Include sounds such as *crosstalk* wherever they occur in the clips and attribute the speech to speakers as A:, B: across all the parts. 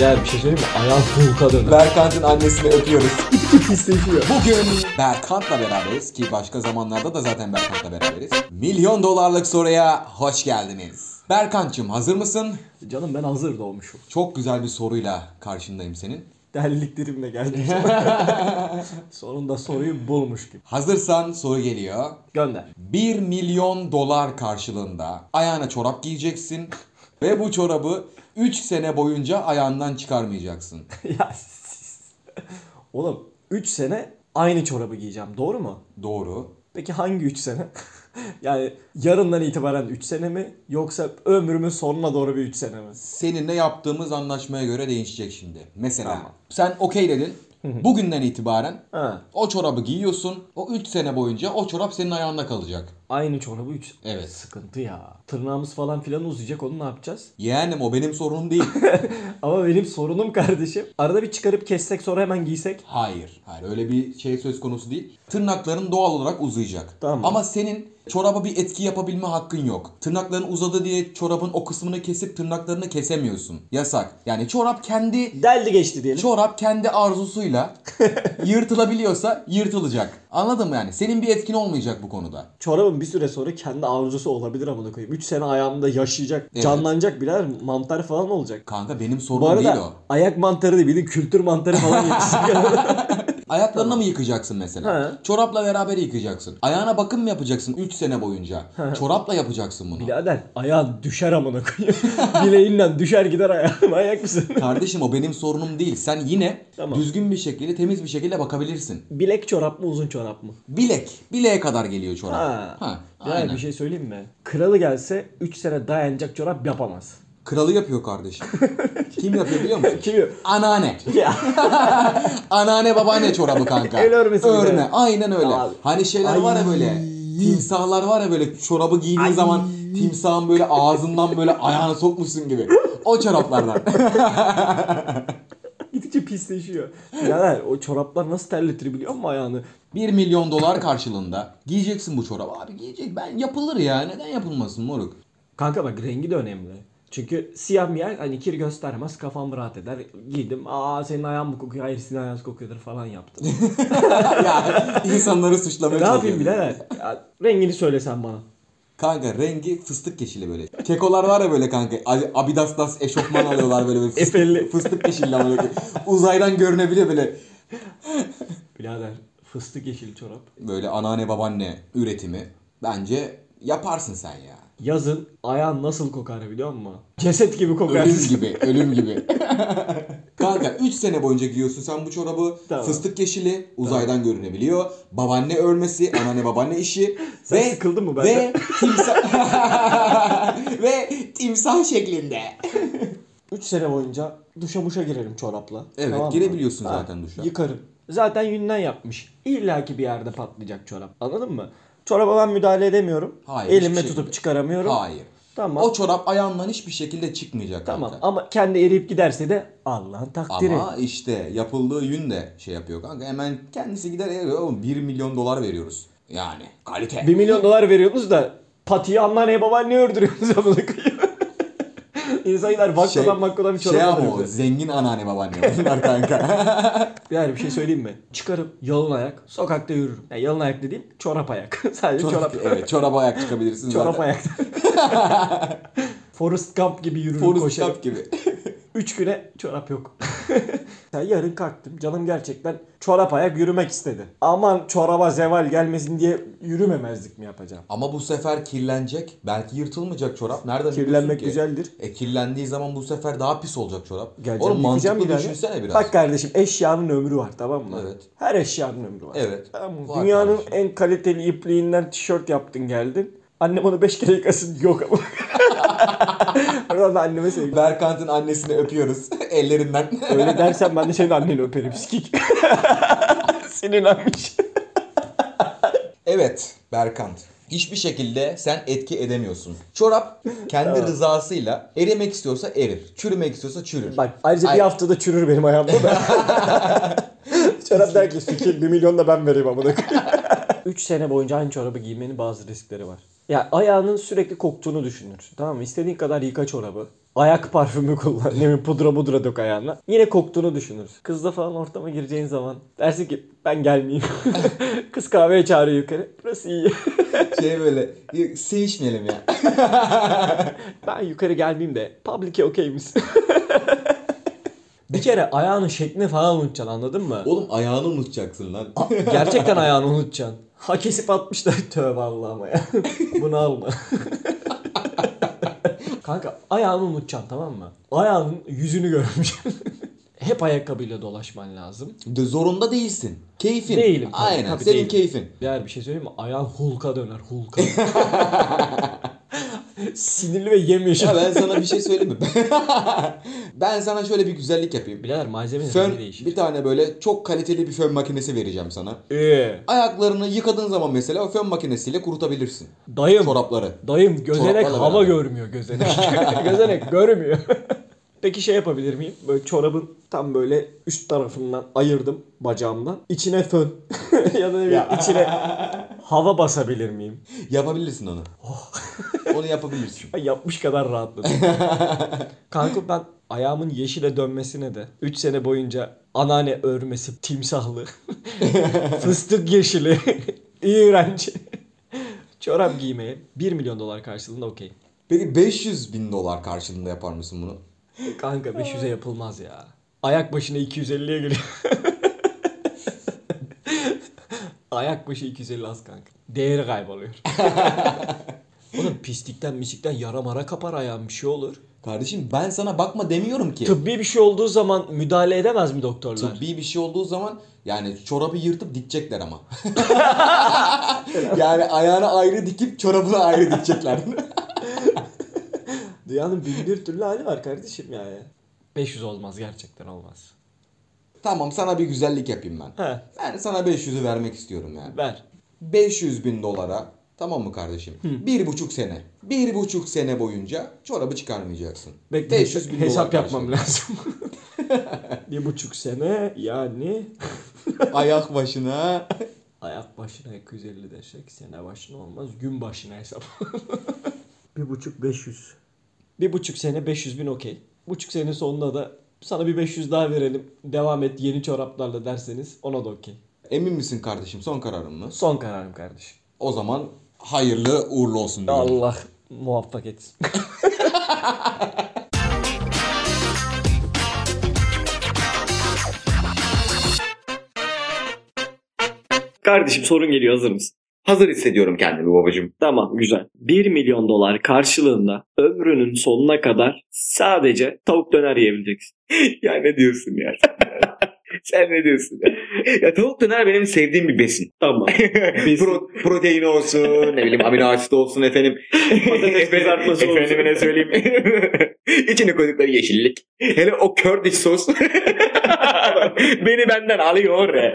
A: Ya bir şey söyleyeyim mi? Ayağım hulkadır.
B: Berkant'ın annesini öpüyoruz. Bugün Berkant'la beraberiz ki başka zamanlarda da zaten Berkant'la beraberiz. Milyon dolarlık soruya hoş geldiniz. Berkant'cığım hazır mısın?
A: *laughs* Canım ben hazır doğmuşum.
B: Çok güzel bir soruyla karşındayım senin.
A: Deliliklerimle *laughs* geldim. Sonunda soruyu bulmuş gibi.
B: Hazırsan soru geliyor.
A: Gönder.
B: 1 milyon dolar karşılığında ayağına çorap giyeceksin ve bu çorabı 3 sene boyunca ayağından çıkarmayacaksın.
A: *laughs* ya siz. Oğlum 3 sene aynı çorabı giyeceğim doğru mu?
B: Doğru.
A: Peki hangi 3 sene? *laughs* yani yarından itibaren 3 sene mi yoksa ömrümün sonuna doğru bir 3 sene mi?
B: Seninle yaptığımız anlaşmaya göre değişecek şimdi. Mesela
A: Tamam.
B: sen okey dedin. Bugünden itibaren
A: Ha,
B: o çorabı giyiyorsun. O 3 sene boyunca o çorap senin ayağında kalacak.
A: aynı çorabı 3.
B: Evet.
A: Sıkıntı ya. Tırnağımız falan filan uzayacak onu ne yapacağız?
B: Yeğenim o benim
A: *laughs*
B: sorunum değil.
A: Ama benim sorunum kardeşim. Arada bir çıkarıp kessek sonra hemen giysek.
B: Hayır. Hayır öyle bir şey söz konusu değil. Tırnakların doğal olarak uzayacak.
A: Tamam.
B: Ama senin çoraba bir etki yapabilme hakkın yok. Tırnakların uzadı diye çorabın o kısmını kesip tırnaklarını kesemiyorsun. Yasak. Yani çorap kendi
A: Deldi geçti diyelim.
B: çorap kendi
A: *laughs*
B: arzusuyla yırtılabiliyorsa yırtılacak. Anladın mı yani? Senin bir etkin olmayacak bu konuda.
A: Çorabın bir süre sonra kendi avlusu olabilir amına koyayım. 3 sene ayağımda yaşayacak,
B: Evet.
A: canlanacak birader mantar falan olacak.
B: Kanka benim
A: Bu
B: sorunum değil o.
A: arada ayak mantarı değil, bir de kültür mantarı falan yetişecek. *laughs*
B: Ayaklarını mı yıkacaksın mesela?
A: He.
B: Çorapla beraber yıkayacaksın. Ayağına bakım mı yapacaksın 3 sene boyunca? Çorapla yapacaksın bunu.
A: Birader ayağın düşer amına koyayım. *laughs* Bileğinden düşer gider ayağın. *laughs* Ayak mısın?
B: *laughs* Kardeşim o benim sorunum değil. Sen yine
A: Tamam.
B: düzgün bir şekilde, temiz bir şekilde bakabilirsin.
A: Bilek çorap mı uzun çorap mı?
B: Bilek. Bileğe kadar geliyor çorap.
A: Ha.
B: Ha,
A: Ya
B: aynen.
A: bir şey söyleyeyim mi? Kralı gelse 3 sene dayanacak çorap yapamaz.
B: Kralı
A: *laughs*
B: yapıyor kardeşim. Kim yapıyor biliyor musun?
A: Kimi?
B: Anneanne.
A: Ya.
B: Anneanne babaanne çorabı
A: *laughs*
B: kanka.
A: El örmesi bir de.
B: Örme. Aynen öyle.
A: Abi.
B: Hani şeyler
A: Ay.
B: var ya böyle. Timsahlar var ya böyle çorabı giydiğin
A: Ay.
B: zaman timsahın böyle ağzından böyle ayağını sokmuşsun gibi. O çoraplardan.
A: Gidince pisleşiyor. Birader o çoraplar nasıl terletir biliyor musun ayağını?
B: 1 milyon dolar karşılığında giyeceksin bu çorabı. Abi giyecek ben yapılır ya. Neden yapılmasın moruk? *laughs*
A: Kanka bak rengi de önemli. Çünkü siyah miyer hani kir göstermez kafam rahat eder. Giydim aa senin ayağın mı kokuyor hayır senin ayağın kokuyordur falan
B: *laughs*
A: yaptım.
B: ya insanları suçlamaya
A: ne yapayım
B: çalışıyorum.
A: birader? Ya, rengini söylesen bana.
B: Kanka rengi fıstık yeşili böyle. Kekolar var ya böyle kanka. A- Abidas'tas eşofman alıyorlar böyle. böyle
A: Efelli.
B: fıstık, fıstık yeşili ama böyle. Uzaydan görünebiliyor böyle.
A: Birader fıstık yeşil çorap.
B: Böyle anneanne babaanne üretimi. Bence yaparsın sen ya.
A: Yazın ayağın nasıl kokar biliyor musun? Ceset gibi kokar.
B: Ölüm gibi,
A: *laughs*
B: ölüm gibi. Kanka 3 sene boyunca giyiyorsun sen bu çorabı.
A: Tamam.
B: Fıstık yeşili, uzaydan görünebiliyor. Babaanne örmesi, anneanne babaanne işi.
A: Sen sıkıldın mı
B: Ve
A: benden?
B: timsah... *laughs* ve timsah şeklinde.
A: *laughs* 3 sene boyunca duşa muşa girerim çorapla.
B: Evet,
A: mı?
B: girebiliyorsun zaten duşa.
A: Yıkarım. Zaten yünden yapmış. İlla ki bir yerde patlayacak çorap. Anladın mı? Çoraba ben müdahale edemiyorum.
B: Hayır,
A: Elimle
B: hiçbir
A: tutup
B: şekilde.
A: çıkaramıyorum.
B: Hayır.
A: Tamam.
B: O çorap ayağından hiçbir şekilde çıkmayacak
A: Tamam
B: kanka.
A: ama kendi eriyip giderse de Allah'ın takdiri.
B: Ama işte yapıldığı yün de şey yapıyor kanka. Hemen kendisi gider eriyor. Oğlum 1 milyon dolar veriyoruz. Yani kalite.
A: 1 milyon dolar veriyorsunuz da patiyi anneanneye babaanneye ördürüyorsunuz amına koyayım. *laughs* İnsanlar bakkadan bakkadan bir çorap
B: şey ama o
A: alıyordu.
B: zengin anneanne babaanne
A: *laughs*
B: bunlar kanka.
A: Yani bir şey söyleyeyim mi? Çıkarım yalın ayak sokakta yürürüm. Yani yalın ayak dediğim çorap ayak. *laughs* Sadece çorap.
B: evet, çorap ayak çıkabilirsin
A: Çorap
B: zaten. *laughs*
A: ayakta. Forrest Gump gibi yürürüm
B: Forrest
A: koşarım.
B: Gump gibi.
A: Üç güne çorap yok. *laughs* Ya yarın kalktım. Canım gerçekten çorap ayak yürümek istedi. Aman çoraba zeval gelmesin diye yürümemezlik mi yapacağım?
B: Ama bu sefer kirlenecek. Belki yırtılmayacak çorap. Nereden biliyorsun
A: Kirlenmek
B: ki?
A: güzeldir.
B: E kirlendiği zaman bu sefer daha pis olacak çorap.
A: Geleceğim,
B: Oğlum
A: yıkayacağım
B: mantıklı
A: bir daha.
B: düşünsene biraz.
A: Bak kardeşim eşyanın ömrü var tamam mı?
B: Evet.
A: Her eşyanın ömrü var.
B: Evet,
A: Tamam mı?
B: var
A: Dünyanın
B: kardeşim.
A: en kaliteli ipliğinden tişört yaptın geldin. Annem onu beş kere yıkasın yok ama. *laughs* Oradan da anneme sevgi.
B: Berkant'ın annesini öpüyoruz *laughs* ellerinden.
A: Öyle dersen ben de senin anneni öperim sikik. *laughs* Sinirlenmiş.
B: Evet Berkant. Hiçbir şekilde sen etki edemiyorsun. Çorap kendi rızasıyla erimek istiyorsa erir. Çürümek istiyorsa çürür.
A: Bak ayrıca
B: Ay-
A: bir haftada çürür benim ayağımda *laughs* da. Çorap der ki fikir 1 milyon da ben vereyim amına *laughs* 3 sene boyunca aynı çorabı giymenin bazı riskleri var. Ya ayağının sürekli koktuğunu düşünür. Tamam mı? İstediğin kadar yıka çorabı. Ayak parfümü kullan. Ne bileyim pudra pudra dök ayağına. Yine koktuğunu düşünürsün. Kızla falan ortama gireceğin zaman dersin ki ben gelmeyeyim. *laughs* Kız kahveye çağırıyor yukarı. Burası iyi. *laughs*
B: Şey böyle "Yok, sevişmeyelim ya.
A: ben yukarı gelmeyeyim de public'e okey misin? *laughs* bir kere ayağının şeklini falan unutacaksın anladın mı?
B: Oğlum ayağını unutacaksın lan.
A: *laughs* Gerçekten ayağını unutacaksın. Ha kesip atmışlar. *laughs* Tövbe Allah'ıma ya. *laughs* Bunu alma. *laughs* Kanka ayağını unutacaksın tamam mı? Ayağının yüzünü görmeyeceksin. *laughs* Hep ayakkabıyla dolaşman lazım.
B: De zorunda değilsin. Keyfin.
A: Değilim. tabii,
B: Aynen.
A: tabii
B: Senin
A: değilim.
B: keyfin.
A: Diğer bir şey söyleyeyim mi? Ayağın hulka döner hulka. Sinirli ve yemyeşil.
B: Ya ben sana bir şey söyleyeyim mi? *laughs* ben sana şöyle bir güzellik yapayım.
A: Birader malzeme
B: Fön,
A: ne değişir?
B: bir tane böyle çok kaliteli bir fön makinesi vereceğim sana.
A: Ee,
B: Ayaklarını yıkadığın zaman mesela o fön makinesiyle kurutabilirsin.
A: dayım.
B: Çorapları.
A: Dayım gözenek
B: Çoraplarla
A: hava
B: beraber.
A: görmüyor gözenek. *laughs* gözenek görmüyor. *laughs* Peki şey yapabilir miyim? Böyle çorabın tam böyle üst tarafından ayırdım bacağımla. İçine fön *laughs* ya da ne bileyim içine hava basabilir miyim?
B: Yapabilirsin onu.
A: Oh.
B: onu yapabilirsin.
A: Ben yapmış kadar rahatladım. Kanka ben ayağımın yeşile dönmesine de 3 sene boyunca anneanne örmesi timsahlı, *laughs* fıstık yeşili, *laughs* iğrenç çorap giymeye 1 milyon dolar karşılığında okey.
B: Peki 500 bin dolar karşılığında yapar mısın bunu?
A: Kanka 500'e yapılmaz ya. Ayak başına 250'ye *laughs* geliyor. Ayak başı 250 az kanka. Değeri *laughs* kayboluyor. Oğlum pislikten mislikten yara mara kapar ayağım bir şey olur.
B: Kardeşim ben sana bakma demiyorum ki.
A: Tıbbi bir şey olduğu zaman müdahale edemez mi doktorlar?
B: Tıbbi bir şey olduğu zaman yani çorabı yırtıp
A: *laughs*
B: dikecekler ama. yani ayağını ayrı dikip çorabını ayrı
A: *laughs*
B: dikecekler.
A: Dünyanın bin bir türlü hali var kardeşim yani. 500 olmaz gerçekten olmaz.
B: tamam sana bir güzellik yapayım ben.
A: He
B: Ben sana 500'ü vermek istiyorum yani.
A: ver.
B: 500 bin dolara tamam mı kardeşim? Bir buçuk sene. Bir buçuk sene boyunca çorabı çıkarmayacaksın.
A: Bekle
B: 500 bin
A: hesap
B: dolar
A: yapmam lazım. *laughs* bir buçuk sene yani
B: karşılığı. *laughs* Ayak başına.
A: Ayak başına 250 desek sene başına olmaz. Gün başına hesap. *laughs* bir buçuk 500. Bir buçuk sene 500 bin okey. Buçuk sene sonunda da sana bir 500 daha verelim. Devam et yeni çoraplarla derseniz ona da okey.
B: Emin misin kardeşim son kararımız?
A: Son kararım kardeşim.
B: O zaman hayırlı uğurlu olsun diyorum.
A: Allah muvaffak etsin.
C: Kardeşim sorun geliyor hazır mısın?
D: Hazır hissediyorum kendimi babacığım.
C: Tamam güzel. 1 milyon dolar karşılığında ömrünün sonuna kadar sadece tavuk döner yiyebileceksin.
D: ya ne diyorsun ya? *laughs* Sen ne diyorsun ya? Ya tavuk döner benim sevdiğim bir besin. *laughs*
C: Tamam.
D: Pro- protein olsun, ne bileyim amino asit olsun efendim.
C: Patates kızartması olsun.
D: Efendimine söyleyeyim. *laughs* İçine koydukları yeşillik. Hele o Kurdish sos. *laughs* Beni benden alıyor. *laughs*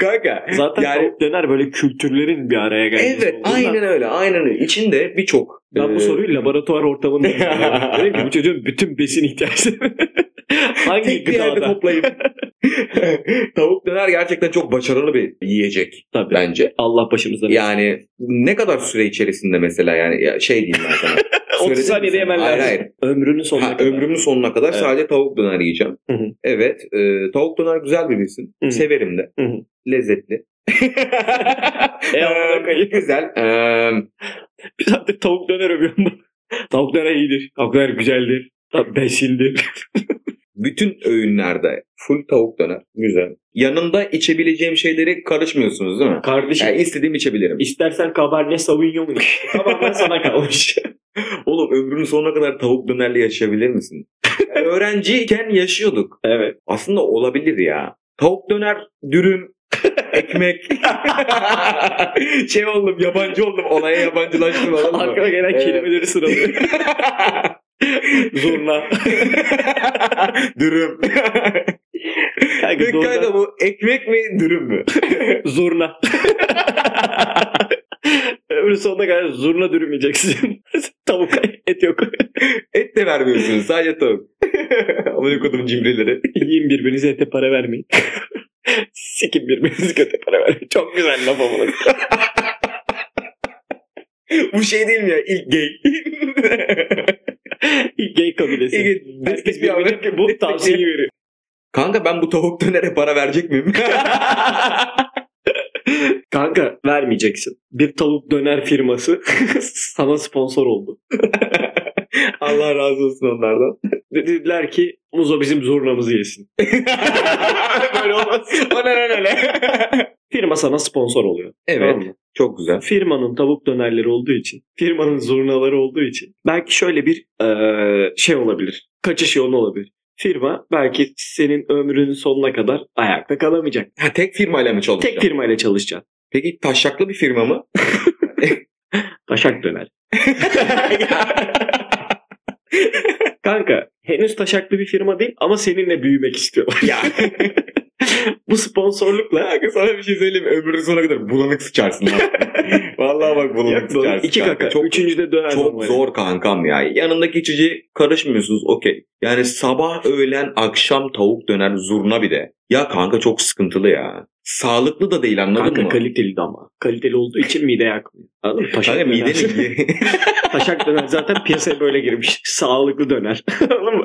D: Kanka.
C: Zaten tavuk döner böyle kültürlerin bir araya gelmesi.
D: Evet
C: olduğundan
D: aynen öyle aynen öyle. İçinde birçok.
C: Ben
D: e, *laughs*
C: bu soruyu laboratuvar ortamında yapıyorum. Dedim ki bu çocuğun bütün
D: *laughs*
C: besin ihtiyaçları hangi
D: Tek bir yerde
C: gıdada?
D: toplayıp.
C: *laughs*
D: Tavuk döner gerçekten çok başarılı bir yiyecek
C: Tabii.
D: bence.
C: Allah başımıza.
D: Yani ne kadar süre içerisinde mesela yani ya şey diyeyim ben
C: *laughs*
D: sana.
C: 30
D: Söyledim
C: saniyede
D: mi
C: yemen
D: sana? Hayır,
C: lazım.
D: hayır.
C: Ömrünün sonuna
D: Ha,
C: kadar.
D: ömrümün sonuna kadar
C: Evet.
D: sadece tavuk döner yiyeceğim.
C: Hı hı.
D: Evet. e, tavuk döner güzel bir besin.
C: Hı hı.
D: Severim de.
C: Hı hı. *laughs*
D: Lezzetli.
C: E, amına koyayım.
D: güzel. Eee,
C: Bir saattir tavuk döner övüyorum *laughs* ben. Tavuk döner iyidir. Tavuk döner güzeldir. Tabii besindir.
D: bütün öğünlerde full tavuk döner. Güzel. Yanında içebileceğim şeyleri karışmıyorsunuz değil mi?
C: Kardeşim
D: Yani istediğim içebilirim.
C: İstersen Cabernet Sauvignon iç.
D: *laughs*
C: Tamamen sana kalmış.
D: Oğlum ömrünün sonuna kadar tavuk dönerle yaşayabilir
C: *laughs*
D: misin? Yani öğrenciyken yaşıyorduk.
C: evet.
D: Aslında olabilir ya. Tavuk döner,
C: *laughs*
D: dürüm, ekmek. şey oldum yabancı oldum. Olaya yabancılaştım anladın mı?
C: Arkana gelen
D: Evet.
C: kelimeleri sıralıyor.
D: *laughs*
C: *laughs* Zurna.
D: dürüm.
C: Kanka,
D: Dikkat
C: zorla-
D: et, bu ekmek mi dürüm mü?
C: *laughs* Zurna. Ömrün sonuna kadar zurna dürümeyeceksin. *laughs* Tavuk et yok.
D: Et de vermiyorsunuz sadece
C: *laughs*
D: tavuk. Amına kodum cimrileri.
C: Yiyin birbirinize ete para vermeyin. *laughs* Sikin birbirinize ete para vermeyin. Çok güzel laf ama. *laughs*
D: Bu şey değil mi ya ilk gay?
C: Gay kabilesi. Herkes birbirine bu tavsiyeyi veriyor.
D: Kanka ben bu tavuk dönere para verecek miyim?
C: *laughs*
D: *laughs*
C: Kanka vermeyeceksin. Bir tavuk döner firması *laughs* sana sponsor oldu.
D: Allah razı olsun onlardan.
C: Dediler ki Muzo bizim zurnamızı yesin.
D: *laughs* Böyle olmaz. O ne ne ne ne.
C: Firma sana sponsor oluyor.
D: Evet.
C: Tamam mı?
D: Çok güzel.
C: Firmanın tavuk dönerleri olduğu için, firmanın zurnaları olduğu için belki şöyle bir eee, şey olabilir. Kaçış yolu olabilir. Firma belki senin ömrünün sonuna kadar ayakta kalamayacak.
D: Ha, tek firmayla mı çalışacağım?
C: Tek firmayla çalışacaksın.
D: Peki taşaklı bir firma mı?
C: Taşak döner. Kanka henüz taşaklı bir firma değil ama seninle büyümek istiyorlar.
D: *laughs*
C: *laughs*
D: ya.
C: Bu sponsorlukla
D: Kanka sana bir şey söyleyeyim. mi? Ömrünün sonuna kadar bulanık sıçarsın. lan. *laughs* Vallahi bak bulanık
C: yaklaşık
D: sıçarsın.
C: iki kaka.
D: Çok,
C: Üçüncüde döner.
D: çok
C: normali.
D: zor kankam ya. Yanındaki içici karışmıyorsunuz okey. Yani sabah, öğlen, akşam tavuk döner zurna bir de. Ya kanka çok sıkıntılı ya. Sağlıklı da değil anladın
C: Kanka
D: mı?
C: kaliteli de ama. Kaliteli olduğu için mide yakmıyor. Anladın mı? Taşak
D: Kanka
C: döner.
D: midenin
C: Taşak döner zaten piyasaya böyle girmiş. *laughs* Sağlıklı döner. *laughs* Anladın mı?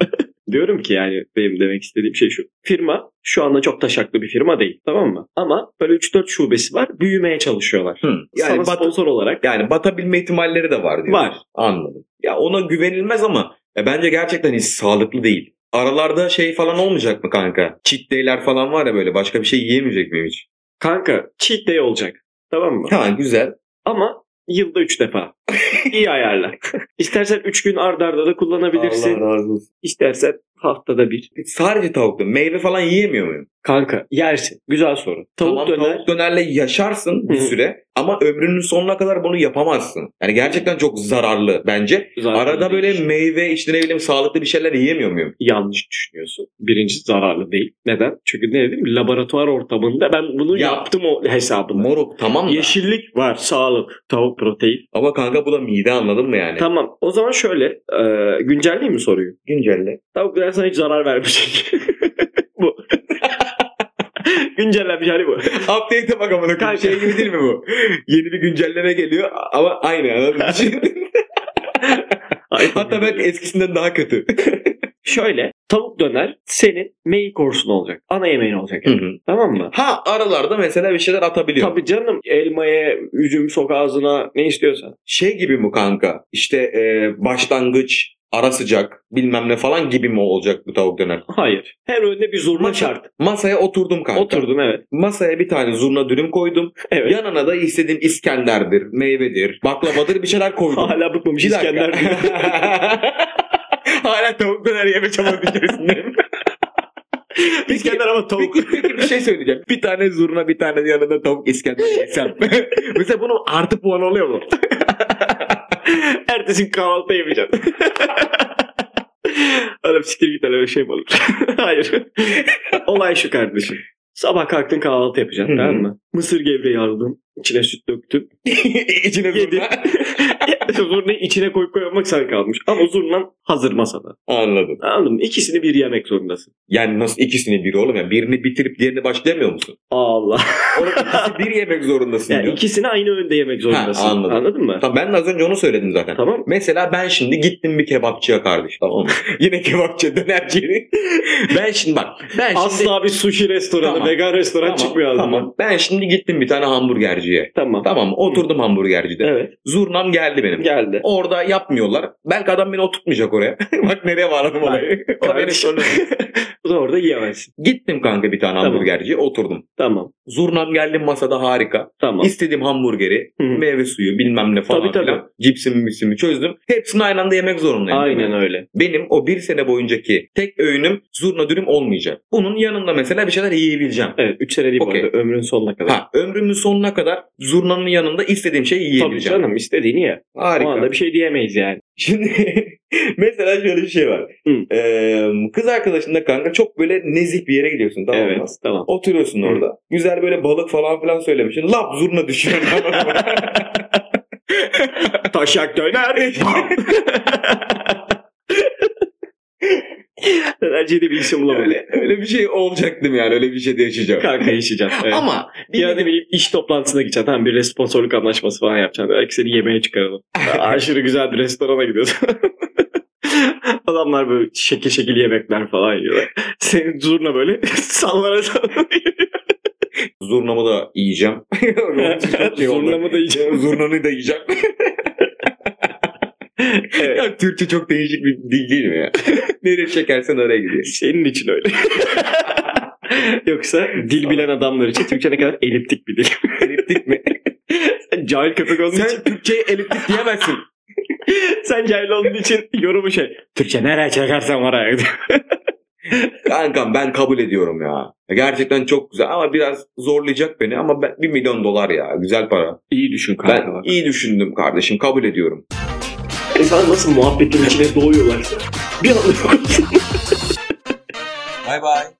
C: Diyorum ki yani benim demek istediğim şey şu. Firma şu anda çok taşaklı bir firma değil tamam mı? Ama böyle 3-4 şubesi var. Büyümeye çalışıyorlar.
D: Hı.
C: Yani
D: Yani,
C: Sana
D: bat,
C: sponsor olarak
D: yani batabilme ihtimalleri de var diyor.
C: var.
D: Anladım. Ya ona güvenilmez ama e, bence gerçekten hiç sağlıklı değil. Aralarda şey falan olmayacak mı kanka? Cheat day'ler falan var ya böyle başka bir şey yiyemeyecek miyim hiç?
C: Kanka cheat day olacak. Tamam mı?
D: Ha güzel.
C: Ama yılda 3 defa. İyi ayarla. *laughs* İstersen 3 gün ardarda arda da kullanabilirsin.
D: razı olsun.
C: İstersen haftada bir.
D: Sadece tavuklu. Meyve falan yiyemiyor muyum?
C: Kanka yersin. Güzel soru. Tavuk
D: tamam
C: döner.
D: tavuk dönerle yaşarsın bir
C: Hı.
D: süre ama ömrünün sonuna kadar bunu yapamazsın. Yani gerçekten çok zararlı bence.
C: zararlı şey.
D: Arada böyle
C: değil.
D: meyve işte ne bileyim sağlıklı bir şeyler yiyemiyor muyum?
C: yanlış düşünüyorsun. Birinci zararlı değil. Neden? Çünkü ne dedim? Laboratuvar ortamında ben bunu
D: Ya.
C: yaptım o hesabını.
D: Moruk tamam da.
C: Yeşillik var, sağlık, tavuk protein.
D: Ama kanka bu da mide anladın mı yani?
C: Tamam. O zaman şöyle, e, güncelleyeyim mi soruyu?
D: Güncelle.
C: Tavuklar sana hiç zarar vermeyecek. *laughs* bu. *laughs* Güncellenmiş hali bu.
D: *laughs* Update'e bak amına koyayım.
C: Kanka.
D: Şey gibi değil mi bu? Yeni bir güncelleme geliyor ama aynı anladın mı? Şimdi- Hatta belki eskisinden daha kötü.
C: Şöyle, tavuk döner senin main course'un olacak. Ana yemeğin olacak.
D: Hı hı.
C: Tamam mı?
D: ha aralarda mesela bir şeyler atabiliyor.
C: Tabii canım elmaya, üzüm sok ağzına ne istiyorsan.
D: şey gibi mi kanka? İşte e, başlangıç, ara sıcak, bilmem ne falan gibi mi olacak bu tavuk döner?
C: Hayır. Her önüne bir zurna
D: Masa-
C: şart.
D: Masaya oturdum kanka.
C: Oturdum evet.
D: Masaya bir tane zurna dürüm koydum.
C: Evet.
D: Yanına da istediğim İskender'dir, meyvedir, baklavadır bir şeyler koydum.
C: Hala bıkmamış
D: Bir dakika.
C: İskender diyor.
D: *laughs* Hala tavuk döner yeme çabası *laughs* içerisindeyim.
C: İskender ama tavuk.
D: Peki, peki bir şey söyleyeceğim. Bir tane zurna bir tane yanında tavuk İskender *laughs* yesem. Mesela bunun artı puan oluyor mu?
C: *laughs*
D: *laughs*
C: Ertesi gün
D: *laughs*
C: kahvaltıda yemeyeceğim. Oğlum siktir git öyle bir şey mi olur? *laughs* Hayır. Olay şu kardeşim. Sabah kalktın kahvaltı yapacaksın
D: Hı hı.
C: tamam mı? Mısır gevreği aldın. içine süt
D: *laughs*
C: döktün.
D: İçine
C: Yedin.
D: zurna.
C: *laughs* Zurnayı içine koyup koymak sana kalmış. Ama zurnan hazır masada.
D: Anladım.
C: Anladın mı? İkisini bir yemek zorundasın.
D: Yani nasıl ikisini bir oğlum ya? Birini bitirip diğerini başlayamıyor musun?
C: Allah.
D: Oğlum ikisi bir yemek *laughs* zorundasın
C: Yani
D: diyor.
C: ikisini aynı önde yemek zorundasın.
D: Ha, anladım.
C: Anladın mı?
D: Tamam, ben de az önce onu söyledim zaten.
C: Tamam.
D: Mesela ben şimdi gittim bir kebapçıya kardeş tamam *laughs* mı? Yine kebapçı dönerci. ben şimdi bak. Ben E şimdi
C: Asla bir sushi restoranı,
D: Tamam.
C: vegan restoran
D: Tamam,
C: çıkmıyor ağzından. Tamam.
D: tamam. Ben şimdi gittim bir tane hamburgerciye. Tamam oturdum hamburgercide.
C: Evet.
D: Zurnam geldi benim.
C: Geldi.
D: Orada yapmıyorlar. Belki adam beni oturtmayacak oraya. *laughs* bak nereye bağladım *laughs* olayı. O beni
C: Kardeşim. *laughs* Bu da orada yiyemezsin.
D: Gittim kanka bir tane
C: Tamam.
D: hamburgerciye oturdum.
C: Tamam.
D: Zurnam geldi masada harika.
C: Tamam.
D: İstediğim hamburgeri,
C: Hı hı.
D: meyve suyu bilmem ne falan
C: Tabii, tabii.
D: filan. Cipsimi misimi çözdüm. Hepsini aynı anda yemek zorundayım.
C: Aynen öyle.
D: Benim o bir sene boyuncaki tek öğünüm zurna dürüm olmayacak. Bunun yanında mesela bir şeyler yiyebileceğim.
C: Evet 3 sene değil bu
D: Okey.
C: arada. Ömrün sonuna kadar.
D: Ha, ömrümün sonuna kadar zurnanın yanında istediğim şeyi
C: Tabii
D: yiyebileceğim.
C: canım istediğini ye. O
D: Harika.
C: anda bir şey diyemeyiz yani.
D: *laughs* Şimdi mesela şöyle bir şey var.
C: Hı.
D: Ee, kız arkadaşınla kanka çok böyle nezih bir yere gidiyorsun tamam mı?
C: evet tamam.
D: Oturuyorsun
C: Hı.
D: orada. Güzel böyle balık falan filan söylemişsin. Lap zurna
C: *laughs*
D: düşüyor.
C: Taşak *laughs* döner. Dönerciye de bir isim bulamadım.
D: öyle, öyle bir şey olacaktım yani. Öyle bir şey de yaşayacağım.
C: Kanka yaşayacağım. Evet.
D: Ama bir
C: Ya da bir iş toplantısına gideceksin. Tamam bir
D: *laughs*
C: sponsorluk anlaşması falan yapacaksın. Belki seni yemeğe çıkaralım. Aşırı güzel bir restorana gidiyorsun. *laughs* Adamlar böyle şekil şekil yemekler falan yiyorlar. Senin zurna böyle *laughs* sallana sallana.
D: Zurnamı da yiyeceğim. *laughs* şey
C: Zurnamı da yiyeceğim.
D: Zurnanı da yiyeceğim.
C: *laughs* Evet,
D: Ya Türkçe çok değişik bir dil değil mi
C: *laughs*
D: ya? Nereye çekersen oraya gidiyor.
C: senin için öyle. *laughs* Yoksa dil bilen adamlar için Türkçe ne kadar eliptik bir dil. *laughs*
D: Eliptik mi?
C: cahil köpek olduğun için
D: Sen Türkçe'ye eliptik diyemezsin.
C: *laughs* sen cahil olduğun için yorumu şey. Türkçe nereye çekersen oraya.
D: Kankam ben kabul ediyorum ya. Gerçekten çok güzel ama biraz zorlayacak beni ama ben 1 milyon dolar ya. Güzel para.
C: İyi düşün
D: Ben iyi düşündüm kardeşim kabul ediyorum.
C: İnsan nasıl muhabbetin içine doğuyorlarsa bir anda yok.
B: Bay bay.